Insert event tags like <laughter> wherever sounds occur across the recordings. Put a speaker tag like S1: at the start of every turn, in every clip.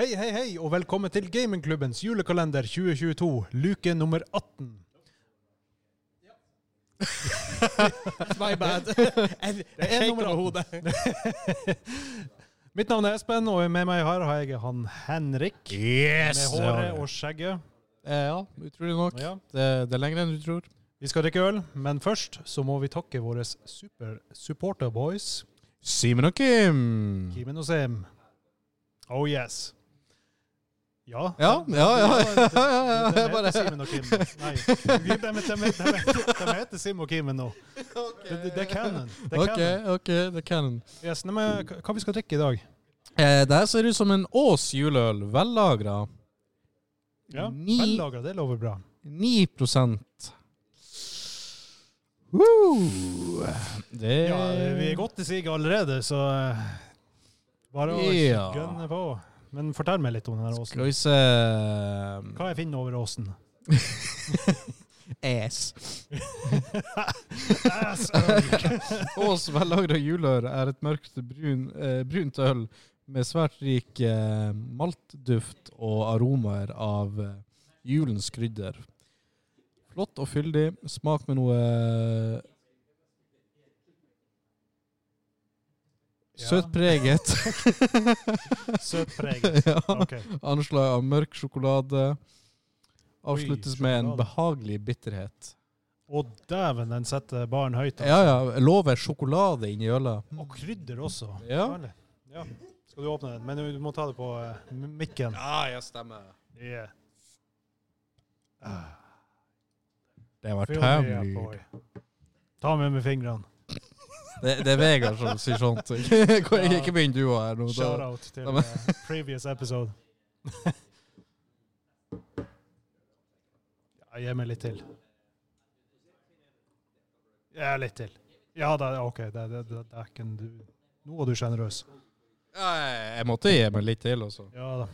S1: Hei, hei, hei, og velkommen til Gamingklubbens julekalender 2022, luke nummer 18.
S2: It's my bad. Jeg jeg shaker
S1: nummer
S2: med hodet.
S1: <laughs> Mitt navn er Espen, og med meg her har jeg han Henrik.
S2: <laughs> Yes!
S1: Med håret og skjegget.
S2: Eh, Ja, utrolig nok.
S1: Ja.
S2: Det, det er lenger enn du tror.
S1: Vi skal drikke øl, men først så må vi takke våre super-supporter-boys,
S2: Simen og Kim.
S1: Kimen og Sem. Oh yes. Ja.
S2: Ja, ja, ja. ja, ja, ja,
S1: De
S2: ja bare.
S1: heter Simen og Kim. Nei, de, de, de, de, de, de heter Sim og Kimen nå. Det, det, det er canon. Det er
S2: Ok,
S1: canon.
S2: ok, det er canon.
S1: Yes, nei, men, hva- hva vi skal drikke i dag?
S2: Eh, det her ser ut som en Ås juleøl, vellagra.
S1: Ja,
S2: Ni-
S1: Vellagra, det lover bra.
S2: 9 Woo! Det
S1: Ja, vi er godt i siget allerede, så eh, bare å
S2: Ja.
S1: gønne på. Men fortell meg litt om den her åsen.
S2: Skal vi se
S1: Hva jeg finner over åsen?
S2: Ass.
S1: Ass, øl.
S2: Ås vellagra juleøl er et mørkt brun, eh, brunt øl med svært rik eh, maltduft og aromaer av eh, julens krydder. Flott og fyldig. Smak med noe eh,
S1: Ja.
S2: søtpreget.
S1: <laughs> Søtpreget.
S2: <laughs> ja.
S1: Ok.
S2: Anslag av mørk sjokolade. Avsluttes med en
S1: sjokolade.
S2: behagelig bitterhet.
S1: Og dæven, den setter baren høyt. altså.
S2: Ja, ja. Lover sjokolade inni ølet.
S1: Og krydder også.
S2: Ja.
S1: Herlig. ja. Skal du åpne den? Men du må ta det på eh, mikken.
S2: Ja, jeg stemmer.
S1: Yeah.
S2: Det var
S1: Feel
S2: tømmelig.
S1: me up, boy. Ta med med fingrene.
S2: Det, det er Vegard som sier sånt. <laughs> Ikke
S1: Ja.
S2: ikke begynn du her nå. Da.
S1: Shout-out til
S2: da-
S1: eh, previous episode.
S2: <laughs>
S1: ja, gi meg litt til. Ja, litt til. Ja, det, er- OK. Det, det, det, det er ikke en du Nå er du sjenerøs.
S2: Ja, jeg- Jeg måtte gi meg litt til, altså.
S1: Ja da.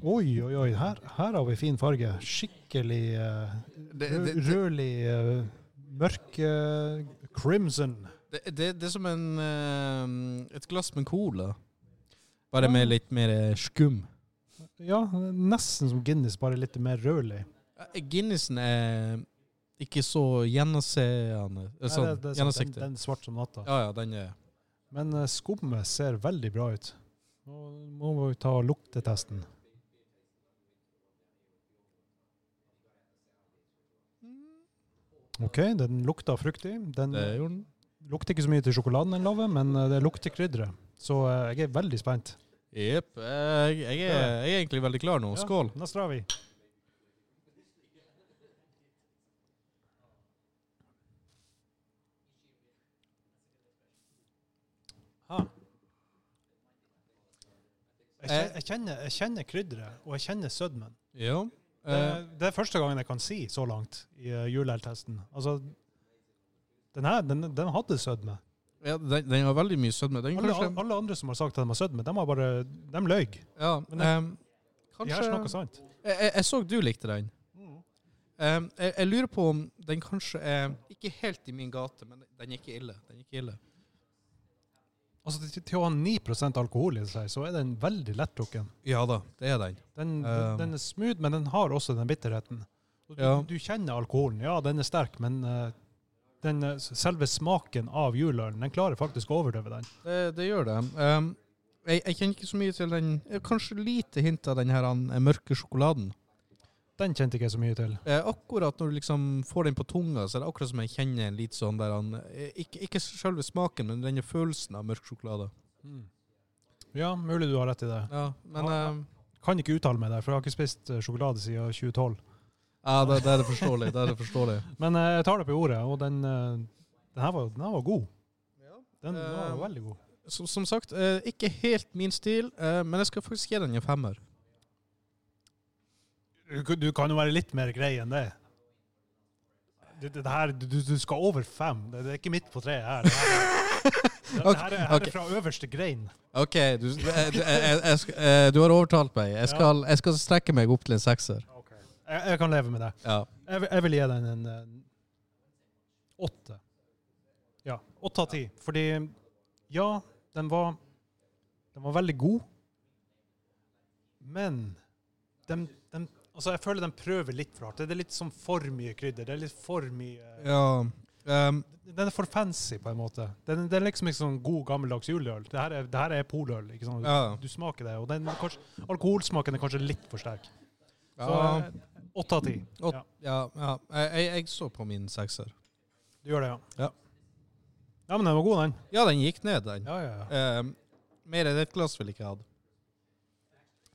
S1: Oi, oi, oi. Her, her har vi fin farge. Skikkelig uh,
S2: Det, det, det,
S1: rødlig eh, mørk eh, crimson.
S2: det, det, det er som en, eh, et glass med cola. Bare
S1: Ah.
S2: med litt mer skum.
S1: Ja, nesten som Guinness, bare litt mer rødlig.
S2: Eh, Guinnessen er ikke så gjennomseende. eh,
S1: Nei,
S2: Sånn,
S1: det- det er sant. den,
S2: gjennomsiktig.
S1: den er svart som natta.
S2: Ja, ja, den er
S1: Men eh, skummet ser veldig bra ut. Nå må vi ta luktetesten. OK, den lukta fruktig. Den
S2: Det gjorde den.
S1: lukter ikke så mye til sjokoladen den laver, men eh, det lukter krydderet. Så eh, jeg er veldig spent.
S2: Jepp. Jeg, jeg, er- jeg er egentlig veldig klar nå.
S1: Ja,
S2: Skål.
S1: Nå drar vi. Ha. Jeg kjen- Jeg kjenner, jeg kjenner krydderet, og jeg kjenner sødmen.
S2: Ja.
S1: Det,
S2: Eh,
S1: det er første gangen jeg kan si så langt i eh, juleøltesten. Altså, den her, den, den hadde sødme.
S2: ja den, den har veldig mye sødme. Den
S1: Alle,
S2: kanskje
S1: alle andre som har sagt at de har sødme, de har bare, de løy.
S2: Ja.
S1: Men
S2: ehm,
S1: De har snakket
S2: kanskje
S1: sant.
S2: jeg, jeg, jeg så du likte den. Ehm, jeg, jeg lurer på om den kanskje er ikke helt i min gate, men den er ikke ille. Den er ikke ille.
S1: Altså, til, til å ha 9 alkohol i seg, så er den veldig lettdrukken.
S2: Ja da, det er den.
S1: Den, den,
S2: Um.
S1: den er smooth, men den har også den bitterheten. Og Du,
S2: Ja.
S1: du kjenner alkoholen. Ja, den er sterk, men eh, den, eh, selve smaken av juleølen, den klarer faktisk å overdøve den.
S2: Det, det gjør det. Ehm, jeg, jeg kjenner ikke så mye til den eh, Kanskje lite hint av den her han, eh, mørke sjokoladen.
S1: Den kjente ikke jeg så mye til.
S2: Eh, akkurat når du liksom får den på tunga, så er det akkurat som jeg kjenner en litt sånn der han eh, Ikke, ikke selve smaken, men denne følelsen av mørk sjokolade.
S1: Ja, mulig du har rett i det.
S2: Ja, men
S1: Ja, ja.
S2: ehm,
S1: Kan ikke uttale meg der, for jeg har ikke spist eh, sjokolade siden 2012.
S2: ja, det, det er det forståelig. Det er det forståelig.
S1: Men eh, jeg tar det på ordet, og den, eh, den, her, var, den her var god. Den var
S2: Um.
S1: veldig god.
S2: Som, som sagt, eh, ikke helt min stil, eh, men jeg skal faktisk gi den en femmer.
S1: Du, kan- du kan jo være litt mer grei enn det. Det, det her, du, du skal over fem. Det, det er ikke midt på treet her. Det her,
S2: <laughs>
S1: det, det her, er, her
S2: ok.
S1: er fra øverste grein.
S2: OK, du, eh, du- eh, jeg, jeg, sk- eh, du har overtalt meg. Jeg skal, jeg skal strekke meg opp til en sekser.
S1: Jeg, jeg kan leve med det.
S2: Ja.
S1: Jeg, vil- jeg vil gi den en eh, åtte. Ja, åtte av ti. Fordi ja, den var, den var veldig god. Men dem- dem- altså jeg føler de prøver litt for hardt. Det er litt som for mye krydder. Det er litt for mye eh,
S2: Ja. ehm,
S1: Den er for fancy, på en måte. Den, den er liksom ikke sånn god, gammeldags juleøl. Det her er, det her er poløl. ikke sant?
S2: ja.
S1: Du smaker det, og den er kanskje, alkoholsmaken er kanskje litt for sterk. Så
S2: Ja.
S1: eh, åtte av ti.
S2: Åt-
S1: ja.
S2: ja, ja. Jeg, jeg, jeg så på min sekser.
S1: Du gjør det, ja.
S2: Ja.
S1: Ja, men den var god, den.
S2: Ja, den gikk ned, den.
S1: Ja, ja, ja.
S2: Ehm, mer enn ett glass ville jeg ikke hatt.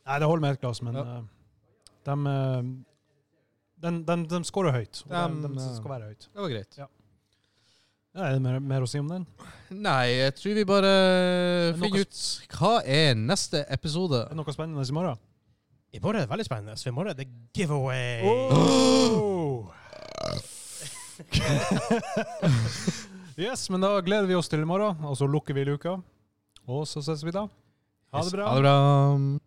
S1: Nei, det holder med ett glass, men
S2: Ja.
S1: eh, dem, eh, den, den, den scorer høyt. Og
S2: Dem,
S1: den, den
S2: eh,
S1: skal være høyt.
S2: Det var greit.
S1: Ja, er det mer, mer å si om den?
S2: Nei, jeg tror vi bare
S3: Men noe
S2: finner ut hva er neste episode.
S1: Er det noe spennende i morgen?
S3: I morgen er det veldig spennende, så i morgen er det giveaway.
S1: Oh! yes, men da gleder vi oss til i morgen, og så lukker vi luka. Og så ses vi da. Ha det bra.
S2: Ha det bra.